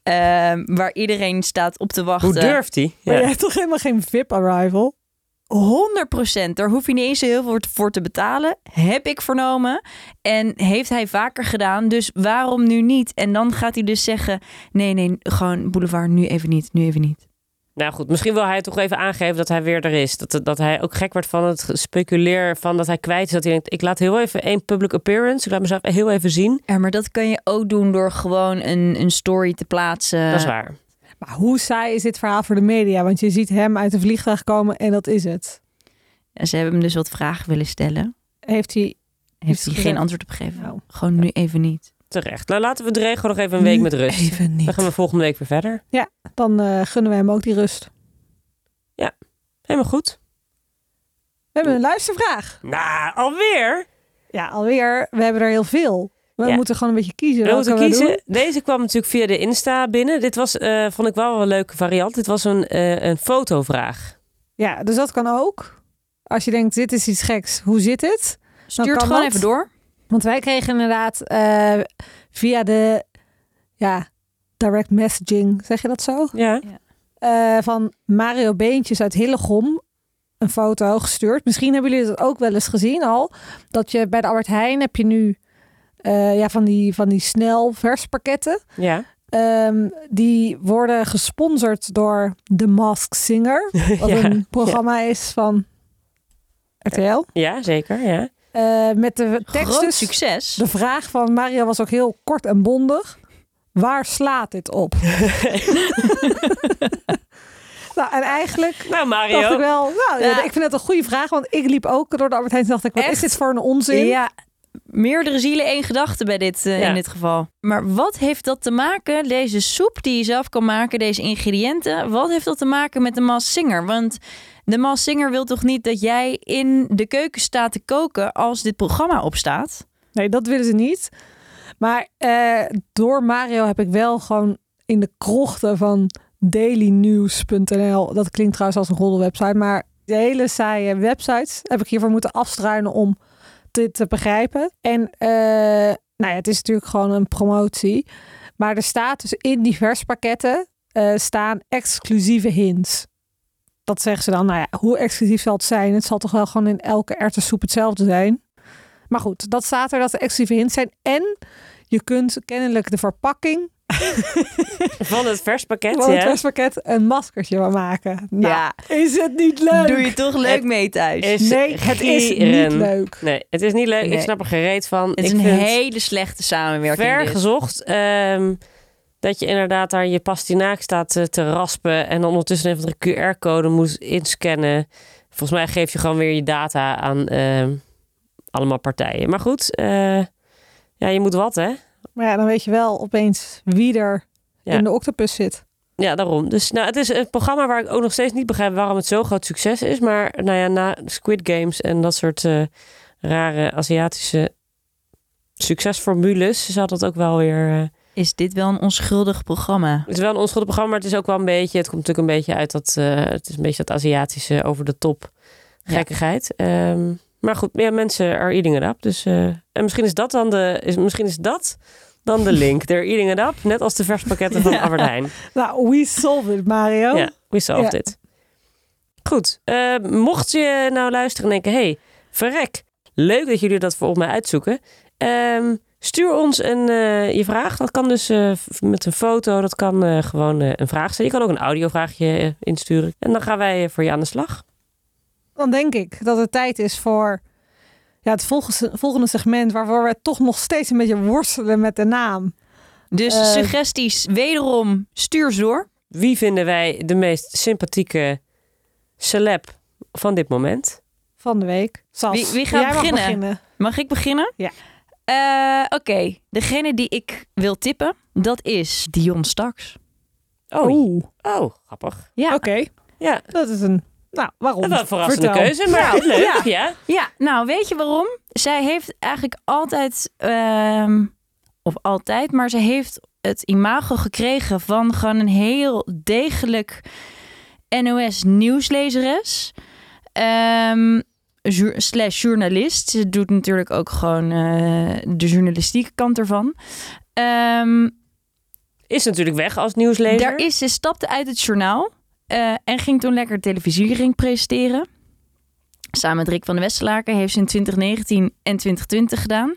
[SPEAKER 3] ehm, waar iedereen staat op te wachten.
[SPEAKER 2] Hoe durft hij?
[SPEAKER 1] Maar jij
[SPEAKER 2] Ja.
[SPEAKER 1] hebt toch helemaal geen VIP-arrival?
[SPEAKER 3] 100%. Daar hoef je niet eens heel veel voor te betalen. Heb ik vernomen. En heeft hij vaker gedaan. Dus waarom nu niet? En dan gaat hij dus zeggen: nee, nee, gewoon boulevard, nu even niet. Nu even niet.
[SPEAKER 2] Nou goed, misschien wil hij toch even aangeven dat hij weer er is. Dat, dat hij ook gek wordt van het speculeer van dat hij kwijt is. Dat hij denkt, ik laat heel even één public appearance. Ik laat mezelf heel even zien.
[SPEAKER 3] Ja, maar dat kan je ook doen door gewoon een, een story te
[SPEAKER 1] Eh.
[SPEAKER 3] plaatsen.
[SPEAKER 2] Dat is waar.
[SPEAKER 1] Maar hoe saai is dit verhaal voor de media? Want je ziet hem uit de vliegtuig komen en dat is het.
[SPEAKER 3] En ze hebben hem dus wat vragen willen stellen.
[SPEAKER 1] Heeft hij...
[SPEAKER 3] Heeft hij
[SPEAKER 1] gezegd.
[SPEAKER 3] geen antwoord op gegeven?
[SPEAKER 1] Nou,
[SPEAKER 3] Gewoon nu even niet.
[SPEAKER 2] Terecht. Nou laten we de regel nog even een week met rust.
[SPEAKER 1] Even
[SPEAKER 2] Dan
[SPEAKER 1] niet.
[SPEAKER 2] gaan we volgende week weer verder.
[SPEAKER 1] Dan eh, gunnen we hem ook die rust.
[SPEAKER 2] Helemaal goed.
[SPEAKER 1] We hebben een luistervraag.
[SPEAKER 2] Nou, alweer.
[SPEAKER 1] Ja, alweer. We hebben er heel veel. We
[SPEAKER 2] Ja.
[SPEAKER 1] moeten gewoon een beetje kiezen.
[SPEAKER 2] We
[SPEAKER 1] welke
[SPEAKER 2] moeten
[SPEAKER 1] doen.
[SPEAKER 2] kiezen. Deze kwam natuurlijk via de Insta binnen. Dit was, eh, vond ik wel een leuke variant. Dit was een, eh, een fotovraag.
[SPEAKER 1] Ja, dus dat kan ook. Als je denkt, dit is iets geks. Hoe zit het?
[SPEAKER 3] Stuur
[SPEAKER 1] kan
[SPEAKER 3] het gewoon
[SPEAKER 1] dat.
[SPEAKER 3] even door.
[SPEAKER 1] Want wij kregen inderdaad eh, via de ja, direct messaging, zeg je dat zo?
[SPEAKER 2] Ja.
[SPEAKER 1] Eh, van Mario Beentjes uit Hillegom een foto gestuurd. Misschien hebben jullie dat ook wel eens gezien al. Dat je bij de Albert Heijn heb je nu eh, ja, van, die, van die snel verspakketten.
[SPEAKER 2] Ja.
[SPEAKER 1] Ehm, die worden gesponsord door The Mask Singer. Wat
[SPEAKER 2] Ja.
[SPEAKER 1] een programma is van RTL.
[SPEAKER 2] Ja, zeker. Ja.
[SPEAKER 1] Eh, met de tekst
[SPEAKER 3] Groot
[SPEAKER 1] dus-
[SPEAKER 3] succes.
[SPEAKER 1] De vraag van Mario was ook heel kort en bondig. Waar slaat dit op? nou, en eigenlijk
[SPEAKER 2] Nou,
[SPEAKER 1] dacht ik
[SPEAKER 2] Mario.
[SPEAKER 1] wel... Nou, ja,
[SPEAKER 3] Ja.
[SPEAKER 1] ik vind het een goede vraag, want ik liep ook door de Albert Heijn en dacht ik... Wat
[SPEAKER 3] Echt?
[SPEAKER 1] is dit voor een onzin?
[SPEAKER 3] Ja, meerdere zielen één gedachte bij dit, eh,
[SPEAKER 2] Ja.
[SPEAKER 3] in dit geval. Maar wat heeft dat te maken, deze soep die je zelf kan maken, deze ingrediënten, wat heeft dat te maken met de Mas Singer? Want de Mas Singer wil toch niet dat jij in de keuken staat te koken als dit programma opstaat?
[SPEAKER 1] Nee, dat willen ze niet. Maar eh, door Mario heb ik wel gewoon in de krochten van dailynews.nl... Dat klinkt trouwens als een roddelwebsite, maar de hele saaie websites... heb ik hiervoor moeten afstruinen om dit te begrijpen. En eh, nou ja, het is natuurlijk gewoon een promotie. Maar er staat dus in die verspakketten eh, staan exclusieve hints. Dat zeggen ze dan. Nou ja, hoe exclusief zal het zijn? Het zal toch wel gewoon in elke erwtensoep hetzelfde zijn. Maar goed, dat staat er dat er exclusieve hints zijn. En je kunt kennelijk de verpakking
[SPEAKER 2] Van het verspakket.
[SPEAKER 1] van het
[SPEAKER 2] ja.
[SPEAKER 1] verspakket een maskertje van maken. Nou,
[SPEAKER 3] ja,
[SPEAKER 1] is het niet leuk?
[SPEAKER 3] doe je dus toch leuk mee thuis.
[SPEAKER 2] Is
[SPEAKER 1] Nee, het is niet
[SPEAKER 2] gieren.
[SPEAKER 1] leuk.
[SPEAKER 2] Nee, het is niet leuk. Ik
[SPEAKER 3] Nee.
[SPEAKER 2] snap er gereed van.
[SPEAKER 3] het is
[SPEAKER 2] ik
[SPEAKER 3] een
[SPEAKER 2] vind
[SPEAKER 3] hele slechte
[SPEAKER 2] het
[SPEAKER 3] samenwerking. dus.
[SPEAKER 2] ver
[SPEAKER 3] dit.
[SPEAKER 2] gezocht ehm, dat je inderdaad daar je pastinaak staat eh, te raspen en dan ondertussen even de QR-code moet inscannen. Volgens mij geef je gewoon weer je data aan ehm, allemaal partijen. Maar goed, eh, ja, je moet wat, hè?
[SPEAKER 1] Maar ja, dan weet je wel opeens wie er
[SPEAKER 2] Ja.
[SPEAKER 1] in de octopus zit.
[SPEAKER 2] Ja, daarom. Dus nou, het is een programma waar ik ook nog steeds niet begrijp waarom het zo'n groot succes is. Maar nou ja, na Squid Games en dat soort eh, rare Aziatische succesformules zou dat ook wel weer. eh,
[SPEAKER 3] Is dit wel een onschuldig programma?
[SPEAKER 2] het is wel een onschuldig programma, maar het is ook wel een beetje. Het komt natuurlijk een beetje uit dat. eh, het is een beetje dat Aziatische over de top
[SPEAKER 3] Ja.
[SPEAKER 2] gekkigheid. Ehm, maar goed, ja, mensen are eating it up. Dus, eh, en misschien is dat dan de. Is, misschien is dat dan de link. They're eating it up. Net als de verspakketten van
[SPEAKER 3] Ja.
[SPEAKER 2] Albert Heijn.
[SPEAKER 1] Nou, we solved it, Mario.
[SPEAKER 2] Ja, we solved
[SPEAKER 1] Ja.
[SPEAKER 2] it. Goed, eh, mocht je nou luisteren en denken... hey, verrek, leuk dat jullie dat voor mij uitzoeken. Ehm, stuur ons een, eh, je vraag. Dat kan dus eh, f- met een foto, dat kan eh, gewoon eh, een vraag zijn. Je kan ook een audiovraagje eh, insturen. En dan gaan wij eh, voor je aan de slag.
[SPEAKER 1] Dan denk ik dat het tijd is voor ja, het volgende, volgende segment... waarvoor we toch nog steeds een beetje worstelen met de naam.
[SPEAKER 3] Dus
[SPEAKER 1] Eh,
[SPEAKER 3] suggesties, wederom, stuur ze door.
[SPEAKER 2] Wie vinden wij de meest sympathieke celeb van dit moment?
[SPEAKER 1] Van de week. Sas,
[SPEAKER 3] Wie- wie gaat
[SPEAKER 1] jij mag
[SPEAKER 3] beginnen? Mag ik beginnen?
[SPEAKER 1] Ja.
[SPEAKER 3] Eh, Oké, degene die ik wil tippen, dat is Dion Staks.
[SPEAKER 2] Oh,
[SPEAKER 1] Oeh.
[SPEAKER 2] oh grappig.
[SPEAKER 3] Ja,
[SPEAKER 1] Oké,
[SPEAKER 2] Ja,
[SPEAKER 1] dat is een... Nou, waarom?
[SPEAKER 2] dat was een verrassende
[SPEAKER 1] Vertel.
[SPEAKER 2] keuze, maar
[SPEAKER 3] Ja.
[SPEAKER 2] leuk.
[SPEAKER 3] Ja.
[SPEAKER 2] ja.
[SPEAKER 3] ja, nou weet je waarom? Zij heeft eigenlijk altijd, ehm, of altijd, maar ze heeft het imago gekregen van gewoon een heel degelijk NOS nieuwslezeres. Ehm, jour- slash journalist. Ze doet natuurlijk ook gewoon eh, de journalistieke kant ervan. Ehm,
[SPEAKER 2] Is natuurlijk weg als nieuwslezer.
[SPEAKER 3] daar is, ze stapte uit het journaal eh, en ging toen lekker televisiering presenteren. Samen met Rick van de Westelaken heeft ze in 2019 en 2020 gedaan.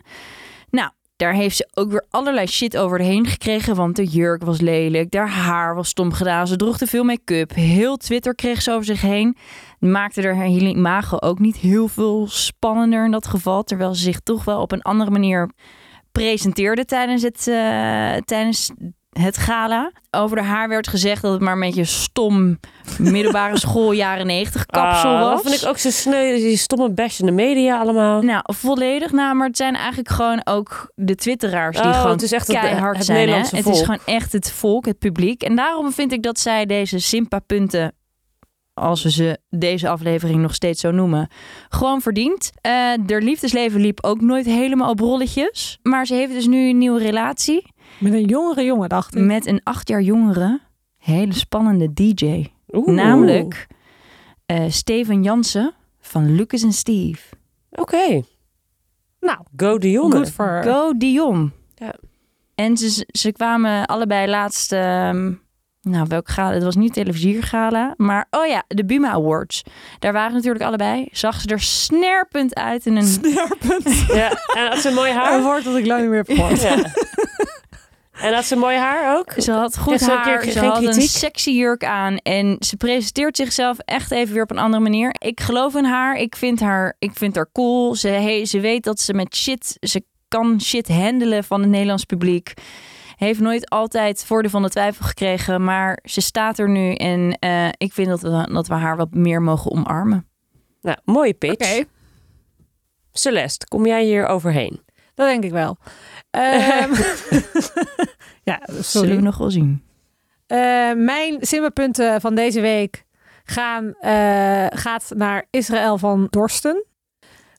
[SPEAKER 3] Nou, daar heeft ze ook weer allerlei shit over de heen gekregen. Want de jurk was lelijk, haar haar was stom gedaan. Ze droeg te veel make-up. Heel Twitter kreeg ze over zich heen. Maakte er haar hele imago ook niet heel veel spannender in dat geval. Terwijl ze zich toch wel op een andere manier presenteerde tijdens het, eh, tijdens het gala. Over haar werd gezegd dat het maar een beetje stom middelbare school jaren 90 kapsel
[SPEAKER 2] Ah,
[SPEAKER 3] was.
[SPEAKER 2] Dat vind ik ook zo sneu. Die stomme bash in de media allemaal.
[SPEAKER 3] Nou, volledig. Nou, maar het zijn eigenlijk gewoon ook de twitteraars die
[SPEAKER 2] Oh,
[SPEAKER 3] gewoon
[SPEAKER 2] het is echt het-
[SPEAKER 3] keihard
[SPEAKER 2] het
[SPEAKER 3] zijn. hè?
[SPEAKER 2] Nederlandse
[SPEAKER 3] Het is
[SPEAKER 2] volk.
[SPEAKER 3] gewoon echt het volk, het publiek. En daarom vind ik dat zij deze Simpa-punten, als we ze deze aflevering nog steeds zo noemen, gewoon verdient. Eh haar liefdesleven liep ook nooit helemaal op rolletjes. Maar ze heeft dus nu een nieuwe relatie
[SPEAKER 1] Met een jongere jongen, dacht
[SPEAKER 2] Hm.
[SPEAKER 1] ik.
[SPEAKER 3] met een acht jaar jongere, hele spannende DJ.
[SPEAKER 2] Oeh.
[SPEAKER 3] Namelijk eh, Steven Jansen van Lucas en Steve.
[SPEAKER 2] Oké.
[SPEAKER 1] Nou,
[SPEAKER 2] Go Dionne.
[SPEAKER 1] Goed voor haar.
[SPEAKER 3] Go Dion.
[SPEAKER 2] Ja.
[SPEAKER 3] En ze, ze kwamen allebei laatst... ehm, nou, welk gala? Het was niet televisiergala. Maar, oh ja, de Buma Awards. Daar waren natuurlijk allebei. Zag ze er snerpend uit in een...
[SPEAKER 1] Snerpend.
[SPEAKER 2] Ja. En had ze mooi
[SPEAKER 1] Een
[SPEAKER 2] haar.
[SPEAKER 1] woord dat ik lang niet meer heb gehoord.
[SPEAKER 2] Ja. En had ze mooi haar ook.
[SPEAKER 3] Ze had goed
[SPEAKER 2] Kreeg ze een keer
[SPEAKER 3] haar, ze
[SPEAKER 2] geen
[SPEAKER 3] had een
[SPEAKER 2] kritiek?
[SPEAKER 3] sexy jurk aan en ze presenteert zichzelf echt even weer op een andere manier. Ik geloof in haar, ik vind haar, ik vind haar cool. Ze, he- ze weet dat ze met shit, ze kan shit handelen van het Nederlands publiek. Heeft nooit altijd voordeel van de twijfel gekregen, maar ze staat er nu en eh, ik vind dat we, dat we haar wat meer mogen omarmen.
[SPEAKER 2] Nou, mooie pitch. Celeste, kom jij hier overheen?
[SPEAKER 1] Dat denk ik wel. Ehm, ja,
[SPEAKER 3] Zullen we
[SPEAKER 1] sorry.
[SPEAKER 3] nog wel zien.
[SPEAKER 1] Eh, mijn simmerpunten van deze week gaan, eh, gaat naar Israël van Dorsten.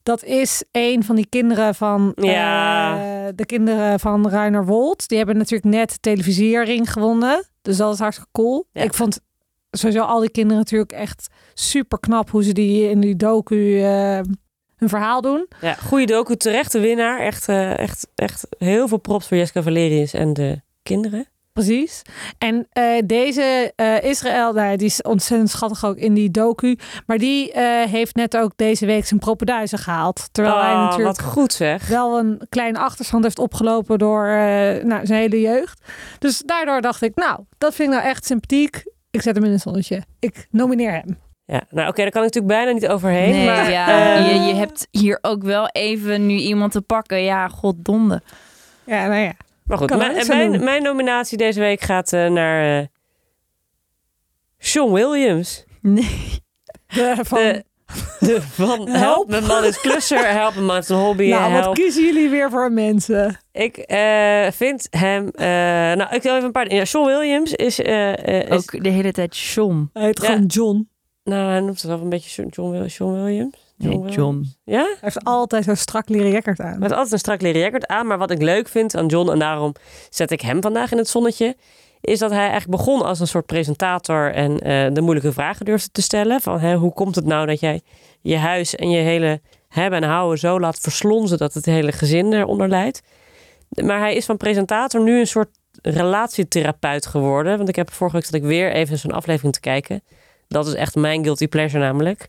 [SPEAKER 1] Dat is een van die kinderen van eh,
[SPEAKER 2] Ja.
[SPEAKER 1] de kinderen van Ruiner Wold. Die hebben natuurlijk net televisiering gewonnen. Dus dat is hartstikke cool.
[SPEAKER 2] Ja.
[SPEAKER 1] Ik vond sowieso al die kinderen natuurlijk echt super knap hoe ze die in die docu eh, hun verhaal doen.
[SPEAKER 2] Ja, goede docu, terechte winnaar. Echt, eh, echt, echt heel veel props voor Jessica Valerius en de kinderen.
[SPEAKER 1] Precies. En eh, deze eh, Israël, nou, ja, die is ontzettend schattig ook in die docu. Maar die eh, heeft net ook deze week zijn propenduizen gehaald. Terwijl hij
[SPEAKER 2] Oh,
[SPEAKER 1] natuurlijk
[SPEAKER 2] Wat goed zeg.
[SPEAKER 1] wel een kleine achterstand heeft opgelopen door eh, nou, zijn hele jeugd. Dus daardoor dacht ik, nou, dat vind ik nou echt sympathiek. Ik zet hem in een zonnetje. Ik nomineer hem.
[SPEAKER 2] Ja, nou oké, daar kan ik natuurlijk bijna niet overheen.
[SPEAKER 3] nee,
[SPEAKER 2] maar,
[SPEAKER 3] ja,
[SPEAKER 2] eh,
[SPEAKER 3] je, je hebt hier ook wel even nu iemand te pakken. Ja, goddonde.
[SPEAKER 1] Ja, nou ja.
[SPEAKER 2] Maar goed,
[SPEAKER 1] Kan
[SPEAKER 2] mijn,
[SPEAKER 1] ook zo
[SPEAKER 2] mijn,
[SPEAKER 1] doen.
[SPEAKER 2] mijn nominatie deze week gaat eh, naar eh Sean Williams.
[SPEAKER 3] Nee.
[SPEAKER 1] De, van,
[SPEAKER 2] De, de van help.
[SPEAKER 1] Help.
[SPEAKER 2] mijn man is klusser, help mijn man is een hobby.
[SPEAKER 1] nou, wat
[SPEAKER 2] help.
[SPEAKER 1] kiezen jullie weer voor mensen?
[SPEAKER 2] Ik eh, vind hem... eh, nou, ik zal even een paar... Ja, Sean Williams is... eh, eh, is-
[SPEAKER 3] Ook de hele tijd John.
[SPEAKER 1] Hij heet
[SPEAKER 2] Ja.
[SPEAKER 1] gewoon John.
[SPEAKER 2] nou, hij noemt zichzelf een beetje Sean, John, Wil- Sean Williams.
[SPEAKER 3] Nee,
[SPEAKER 2] Williams.
[SPEAKER 3] John.
[SPEAKER 2] Ja?
[SPEAKER 1] Hij heeft altijd zo'n strak leren jackert aan.
[SPEAKER 2] Met altijd een strak leren jacket aan. Maar wat ik leuk vind aan John, en daarom zet ik hem vandaag in het zonnetje, is dat hij eigenlijk begon als een soort presentator en eh, de moeilijke vragen durfde te stellen. Van hè, hoe komt het nou dat jij je huis en je hele hebben en houden zo laat verslonzen dat het hele gezin eronder leidt. Maar hij is van presentator nu een soort relatietherapeut geworden. Want ik heb vorige week zat ik weer even zo'n aflevering te kijken. Dat is echt mijn guilty pleasure namelijk.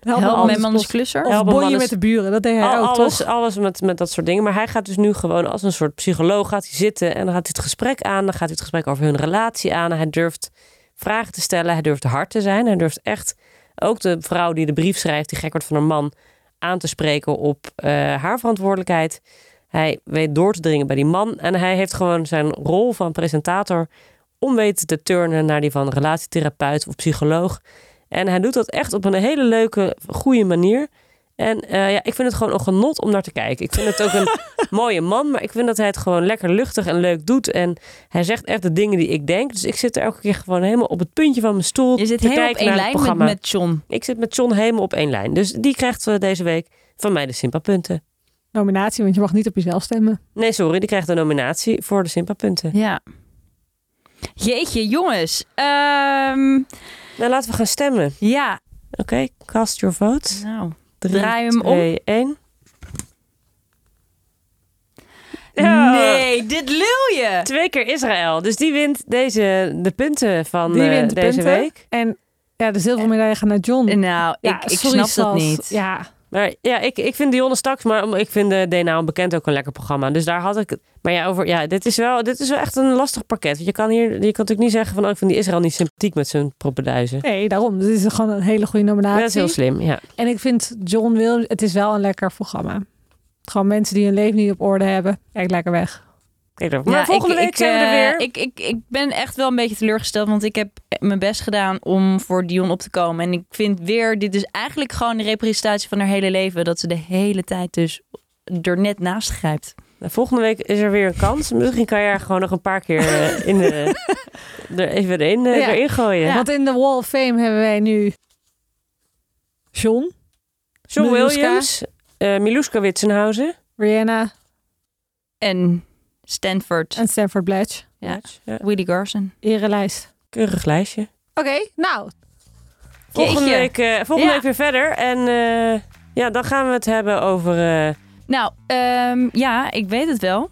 [SPEAKER 1] Help, me
[SPEAKER 3] Help, mijn
[SPEAKER 1] anders.
[SPEAKER 3] man is klusser.
[SPEAKER 1] Of
[SPEAKER 2] Help een man
[SPEAKER 1] bonje
[SPEAKER 2] is-
[SPEAKER 1] met de buren, dat deed hij
[SPEAKER 2] Al-
[SPEAKER 1] ook,
[SPEAKER 2] alles
[SPEAKER 1] toch?
[SPEAKER 2] alles met, met dat soort dingen. Maar hij gaat dus nu gewoon als een soort psycholoog gaat hij zitten en dan gaat hij het gesprek aan. Dan gaat hij het gesprek over hun relatie aan. Hij durft vragen te stellen. Hij durft hard te zijn. Hij durft echt ook de vrouw die de brief schrijft, die gek wordt van haar man, aan te spreken op eh, haar verantwoordelijkheid. Hij weet door te dringen bij die man. En hij heeft gewoon zijn rol van presentator om weten te turnen naar die van relatietherapeut of psycholoog. En hij doet dat echt op een hele leuke, goede manier. En eh, ja, ik vind het gewoon een genot om naar te kijken. Ik vind het ook een mooie man, maar ik vind dat hij het gewoon lekker luchtig en leuk doet. En hij zegt echt de dingen die ik denk. Dus ik zit er elke keer gewoon helemaal op het puntje van mijn stoel.
[SPEAKER 3] Je zit
[SPEAKER 2] te
[SPEAKER 3] helemaal op
[SPEAKER 2] kijken
[SPEAKER 3] één
[SPEAKER 2] naar het
[SPEAKER 3] lijn met,
[SPEAKER 2] programma.
[SPEAKER 3] met John.
[SPEAKER 2] Ik zit met John helemaal op één lijn. Dus die krijgt eh, deze week van mij de Simpa-punten.
[SPEAKER 1] Nominatie, want je mag niet op jezelf stemmen.
[SPEAKER 2] Nee, sorry, die krijgt de nominatie voor de Simpa-punten.
[SPEAKER 3] Ja. Jeetje, jongens. Ehm,
[SPEAKER 2] Nou, laten we gaan stemmen.
[SPEAKER 3] ja.
[SPEAKER 2] Oké, cast your votes.
[SPEAKER 3] Nou,
[SPEAKER 2] Drie,
[SPEAKER 3] Draai hem om.
[SPEAKER 2] twee, één.
[SPEAKER 3] Nee, dit lul je.
[SPEAKER 2] Twee keer Israël. Dus die wint deze, de punten van
[SPEAKER 1] Die
[SPEAKER 2] eh,
[SPEAKER 1] wint de
[SPEAKER 2] deze
[SPEAKER 1] punten.
[SPEAKER 2] week.
[SPEAKER 1] En ja, de zilveren medaille gaat naar John.
[SPEAKER 3] Nou,
[SPEAKER 1] ja,
[SPEAKER 3] ik, ik
[SPEAKER 1] sorry,
[SPEAKER 3] snap dat
[SPEAKER 1] Sas.
[SPEAKER 3] niet.
[SPEAKER 1] Ja,
[SPEAKER 2] Maar ja, ik, ik vind Dionne straks, maar om- ik vind eh, DNA Onbekend ook een lekker programma. Dus daar had ik. het- Maar ja, over, ja dit, is wel, dit is wel echt een lastig pakket. Want je kan hier je kan natuurlijk niet zeggen van oh, ik vind die Israël niet sympathiek met zijn proppenduizen.
[SPEAKER 1] nee, daarom. Dit is gewoon een hele goede nominatie.
[SPEAKER 2] Dat is heel slim. Ja.
[SPEAKER 1] En ik vind John Williams, het is wel een lekker programma. Gewoon mensen die hun leven niet op orde hebben. Kijk lekker weg.
[SPEAKER 2] Kijk daarvan. maar
[SPEAKER 3] Ja,
[SPEAKER 2] volgende
[SPEAKER 3] ik-
[SPEAKER 2] week
[SPEAKER 3] ik,
[SPEAKER 2] zijn we er
[SPEAKER 3] eh,
[SPEAKER 2] weer.
[SPEAKER 3] Ik, ik, ik ben echt wel een beetje teleurgesteld, want ik heb mijn best gedaan om voor Dion op te komen. En ik vind weer, dit is eigenlijk gewoon de representatie van haar hele leven, dat ze de hele tijd dus er net naast grijpt.
[SPEAKER 2] Nou, Volgende week is er weer een kans. Misschien kan je er gewoon nog een paar keer eh, in de, er even in, eh,
[SPEAKER 1] Ja.
[SPEAKER 2] erin gooien.
[SPEAKER 1] Want in de Wall of Fame hebben wij nu John,
[SPEAKER 2] John
[SPEAKER 1] Miluska.
[SPEAKER 2] Williams, eh Miluska Witsenhuizen.
[SPEAKER 1] Rihanna
[SPEAKER 3] En Stanford,
[SPEAKER 1] en Stanford Blatch.
[SPEAKER 3] ja,
[SPEAKER 2] Ja.
[SPEAKER 3] Willy Garson.
[SPEAKER 1] Erenlijst.
[SPEAKER 2] Keurig lijstje.
[SPEAKER 1] Oké, nou,
[SPEAKER 2] Volgende,
[SPEAKER 3] Jeetje.
[SPEAKER 2] week, eh, volgende
[SPEAKER 3] Ja.
[SPEAKER 2] week weer verder. En eh, ja, dan gaan we het hebben over... eh,
[SPEAKER 3] Nou, ehm, ja, ik weet het wel.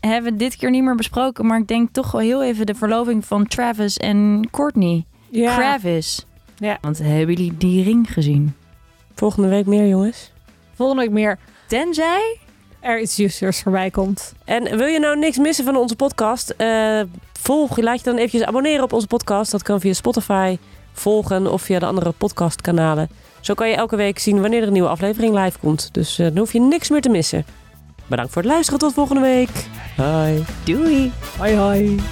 [SPEAKER 3] Hebben we dit keer niet meer besproken, maar ik denk toch wel heel even de verloving van Travis en Courtney.
[SPEAKER 1] ja.
[SPEAKER 3] Travis.
[SPEAKER 1] Ja.
[SPEAKER 3] Want hebben jullie die ring gezien?
[SPEAKER 2] volgende week meer, jongens.
[SPEAKER 1] volgende week meer
[SPEAKER 3] Tenzij
[SPEAKER 1] er iets juicers voorbij komt.
[SPEAKER 2] En wil je nou niks missen van onze podcast? Eh, volg, laat je dan eventjes abonneren op onze podcast. Dat kan via Spotify volgen of via de andere podcastkanalen. Zo kan je elke week zien wanneer er een nieuwe aflevering live komt. Dus eh, dan hoef je niks meer te missen. Bedankt voor het luisteren. Tot volgende week. Bye.
[SPEAKER 3] Dewey.
[SPEAKER 1] Hoi hoi.